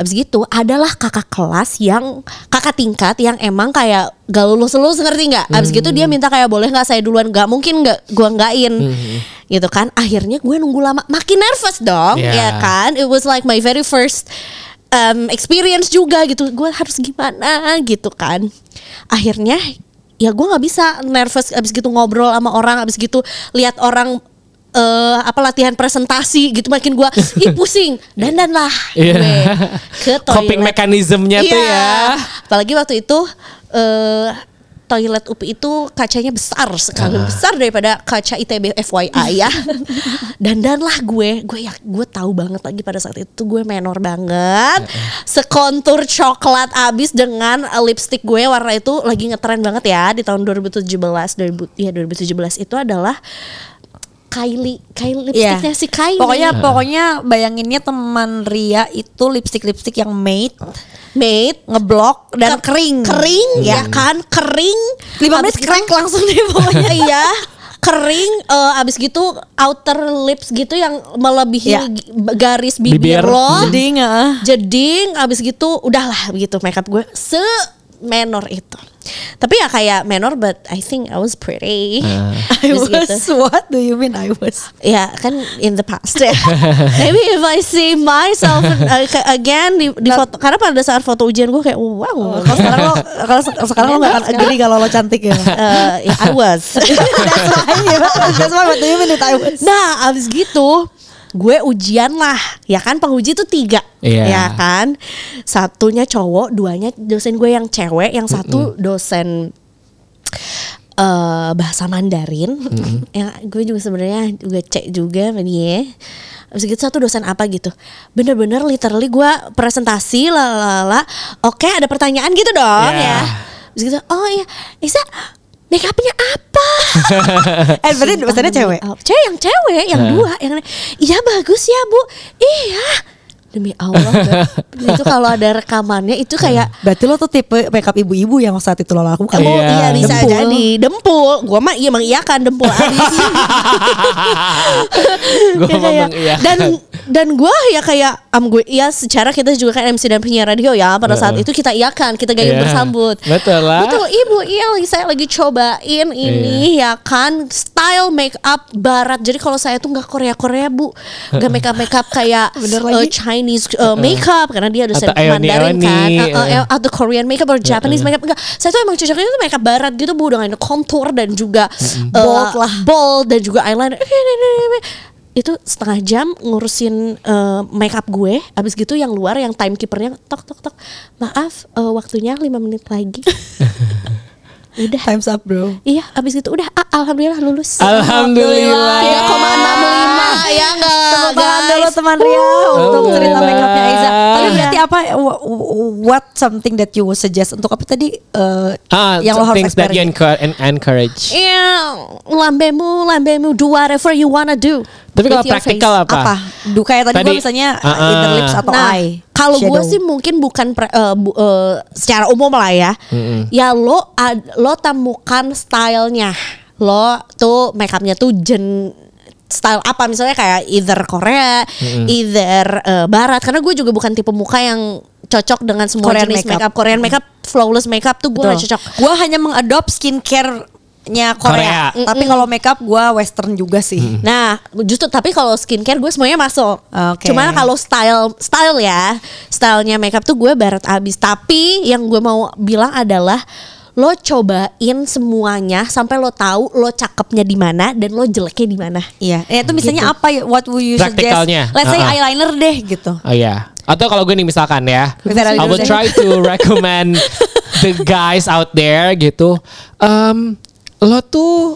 D: abis gitu adalah kakak kelas yang kakak tingkat yang emang kayak gak lulus lulus ngerti nggak abis gitu dia minta kayak boleh nggak saya duluan nggak mungkin nggak gue nggakin gitu kan akhirnya gue nunggu lama makin nervous dong
C: Yeah.
D: ya kan kan it was like my very first um, experience juga gitu gue harus gimana gitu kan akhirnya ya gue nggak bisa nervous abis gitu ngobrol sama orang abis gitu lihat orang eh apa latihan presentasi gitu makin gue ih pusing dandan lah
C: Iya.
D: gue ke toilet
C: Coping mekanismenya tuh
D: Iya.
C: ya.
D: Apalagi waktu itu eh toilet UPI itu kacanya besar sekali
C: Ah.
D: lebih besar daripada kaca ITB FYI ya. Dandan lah gue, gue ya gue tahu banget lagi pada saat itu gue menor banget. Sekontur coklat abis dengan lipstick gue warna itu lagi ngetren banget ya di tahun 2017 2000 ya 2017 itu adalah Kylie Kylie
B: Iya.
D: lipstiknya si Kylie.
B: Pokoknya pokoknya bayanginnya teman Ria itu lipstick-lipstick yang matte,
D: made
B: ngeblok dan kering. Iya.
D: kering ya kan kering
B: Lima
D: Abis
B: menit crack
D: gitu-
B: langsung deh pokoknya.
D: iya kering eh, abis gitu outer lips gitu yang melebihi
B: Ya.
D: gi- garis bibir,
C: Bibir.
D: lo
B: Jadi nggak?
D: jeding abis gitu udahlah begitu makeup gue se menor itu tapi ya kayak menor but I think I was pretty
B: I
D: Abis
B: was what do you mean I was?
D: Ya kan in the past ya. Maybe if I see myself uh, ke- again di, di foto karena pada saat foto ujian gue kayak wow.
B: Kalau sekarang lo kalau se- sekarang lo nggak akan agree kalau lo cantik ya.
D: Uh, yeah, I was.
B: That's why, that's why what do you mean it I was?
D: Nah, abis gitu gue ujian lah, ya kan penguji tuh tiga,
C: Iya.
D: ya kan. Satunya cowok, duanya dosen gue yang cewek, yang satu dosen eh bahasa Mandarin. yang gue juga sebenarnya juga cek juga sama dia. Abis gitu satu dosen apa gitu. Bener-bener literally gue presentasi lalala. Oke, ada pertanyaan gitu dong
C: Yeah.
D: ya. Abis gitu, oh iya, Isa make upnya apa?
B: Eh berarti dosennya
D: Demi
B: cewek.
D: Allah. Cewek yang cewek yang dua yang iya bagus ya Bu. Iya. Demi Allah. Beb. itu kalau ada rekamannya itu kayak
B: Berarti lo tuh tipe makeup ibu-ibu yang saat itu lo lakukan.
D: Oh iya
C: Iya.
D: bisa
B: Dempul.
D: jadi dempul. Gua mah iya mengiyakan dempul abis.
C: gue
D: Ya, kayak,
C: ngomong iya.
D: dan dan gue ya kayak am gue ya secara kita juga kan MC dan penyiar radio ya pada saat
C: Heeh.
D: itu kita iya kan kita gayung
C: Iya.
D: bersambut
C: Betul lah.
D: betul ibu iya lagi saya lagi cobain ini
C: Iya.
D: ya kan style make up barat jadi kalau saya tuh nggak Korea Korea bu nggak make up make up kayak
B: Bener
D: eh,
B: lagi.
D: Chinese eh, make up karena dia dosen
C: Atau Ioni-
D: Mandarin kan
C: Ioni,
D: Eh, eh,
C: eh.
D: atau Korean make up atau Japanese make up enggak saya tuh emang cocoknya tuh make up barat gitu bu dengan contour dan juga eh,
B: Bold lah.
D: bold dan juga eyeliner eh, itu setengah jam ngurusin eh, makeup gue abis gitu yang luar yang timekeepernya tok tok tok maaf eh, waktunya lima menit lagi udah
B: Times up bro.
D: Iya, abis itu udah ah, alhamdulillah lulus.
C: Alhamdulillah.
B: Iya.
D: 3,65 ya enggak,
B: Tepuk tangan dulu teman Ria untuk
C: Alhamdulillah.
B: cerita make upnya Aiza. Tapi
D: Iya.
B: berarti apa wh- wh- what something that you would suggest untuk apa tadi eh,
C: Ah,
B: yang lo harus
C: things that you
B: experiment?
C: encourage and encourage.
D: Iya, lambemu, lambemu, do whatever you wanna do.
C: Tapi kalau
D: With your
C: praktikal
D: face.
C: apa?
B: Apa? Duh kayak tadi, gue
C: Tadi-
B: misalnya
C: Ah, ah.
B: either lips atau
D: Nah,
B: eye.
D: kalau gue
B: shadow.
D: sih mungkin bukan pre- eh, bu- eh, secara umum lah ya. Ya lo ad- lo temukan stylenya. Lo tuh makeupnya tuh jen style apa misalnya kayak either Korea, either eh, Barat. Karena gue juga bukan tipe muka yang cocok dengan semua
B: Korean
D: jenis
B: makeup.
D: makeup. Korean makeup, flawless makeup tuh gue
B: Betul.
D: gak cocok.
B: Gue hanya mengadopt skincare-nya Korea.
C: Korea.
B: Tapi kalau makeup gue western juga sih.
D: Nah, justru tapi kalau skincare gue semuanya masuk.
B: Oke.
D: Cuma kalau style style ya, stylenya makeup tuh gue barat abis. Tapi yang gue mau bilang adalah lo cobain semuanya sampai lo tahu lo cakepnya di mana dan lo jeleknya di mana.
B: Iya, eh, itu misalnya apa? ya, What would you
C: Gitu. Praktikalnya.
B: suggest? Let's say
C: Ah, ah.
B: eyeliner deh gitu.
C: Oh ya. Atau kalau gue nih misalkan ya,
B: Bisa dari
C: I
B: dulu
C: will
B: deh.
C: try to recommend the guys out there gitu. Em, lo tuh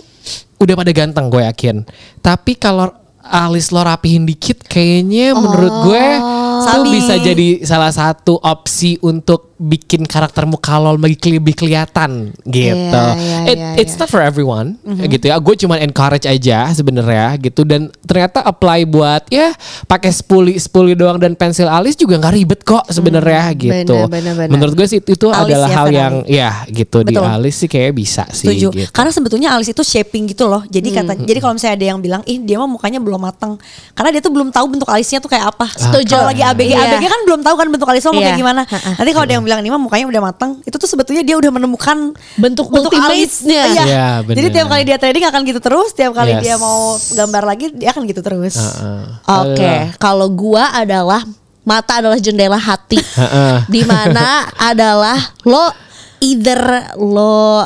C: udah pada ganteng gue yakin. Tapi kalau alis lo rapihin dikit kayaknya menurut gue tuh
B: Oh. Sabi.
C: bisa jadi salah satu opsi untuk bikin karakter muka lo lebih, keli- lebih kelihatan gitu.
B: Iya, iya,
C: It-
B: iya, Mm-hmm.
C: it's not for everyone gitu ya. Gue cuman encourage aja sebenarnya gitu dan ternyata apply buat ya pakai spoolie spoolie doang dan pensil alis juga nggak ribet kok
B: Mm-hmm.
C: sebenarnya gitu.
B: bener, bener.
C: Menurut gue sih itu, itu
B: Alis
C: adalah
B: ya,
C: hal
B: Fernando.
C: yang ya gitu di
B: Betul.
C: alis sih kayak bisa sih
B: Setuju.
C: gitu. Hmm,
B: Karena sebetulnya alis itu shaping gitu loh. Jadi kata jadi kalau misalnya ada yang bilang, "Ih, dia mah mukanya belum matang." Karena dia tuh belum tahu bentuk alisnya tuh kayak
C: Ah,
B: apa.
D: Setuju.
B: Kalau lagi ABG,
D: Iya.
B: ABG kan belum tahu kan bentuk alis lo mau kayak
D: Iya.
B: gimana.
D: Ha-ha.
B: Nanti kalau ada yang bilang, "Ini mah mukanya udah matang," itu tuh sebetulnya dia udah menemukan
D: Bentuk ultimate-nya.
B: Iya.
C: Iya, bener.
B: jadi tiap kali dia trading akan gitu terus, tiap kali
C: Yes.
B: dia mau gambar lagi dia akan gitu terus.
C: Heeh.
D: Oke, kalau gua adalah mata adalah jendela hati.
C: Heeh.
D: Dimana adalah lo either lo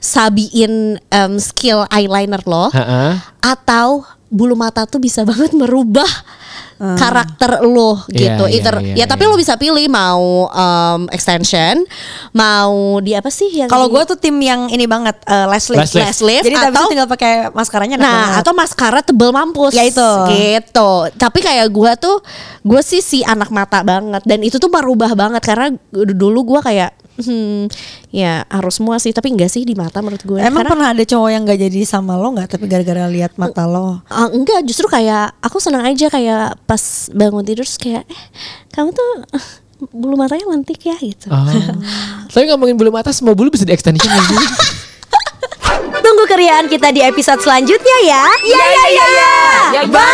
D: sabiin em, skill eyeliner lo
C: Heeh.
D: atau bulu mata tuh bisa banget merubah
B: Hmm.
D: karakter lo
C: Iya,
D: gitu.
C: iya,
D: Either ya
C: iya,
D: tapi
C: iya.
D: lo bisa pilih mau em, extension, mau di apa sih yang
B: Kalau
D: di-
B: gue tuh tim yang ini banget eh, Leslie.
C: Lash lift.
D: Lash lift
B: Jadi tapi
D: atau-
B: tinggal pakai maskaranya enak
D: Nah,
B: banget.
D: atau maskara tebel mampus.
B: Ya itu.
D: Gitu. Tapi kayak gua tuh gua sih si anak mata banget dan itu tuh merubah banget karena dulu gua kayak hmm ya harus semua sih tapi enggak sih di mata menurut gue.
B: Emang
D: Karena-
B: pernah ada cowok yang gak jadi sama lo nggak tapi gara-gara lihat mata lo?
D: Ah, enggak justru kayak aku senang aja kayak pas bangun tidur terus kayak eh, kamu tuh eh, bulu matanya lentik ya gitu.
C: Oh. Tapi ngomongin bulu mata semua bulu bisa di extension gak sih?
B: Tunggu keriaan kita di episode selanjutnya ya. Ya ya ya. ya. Bye.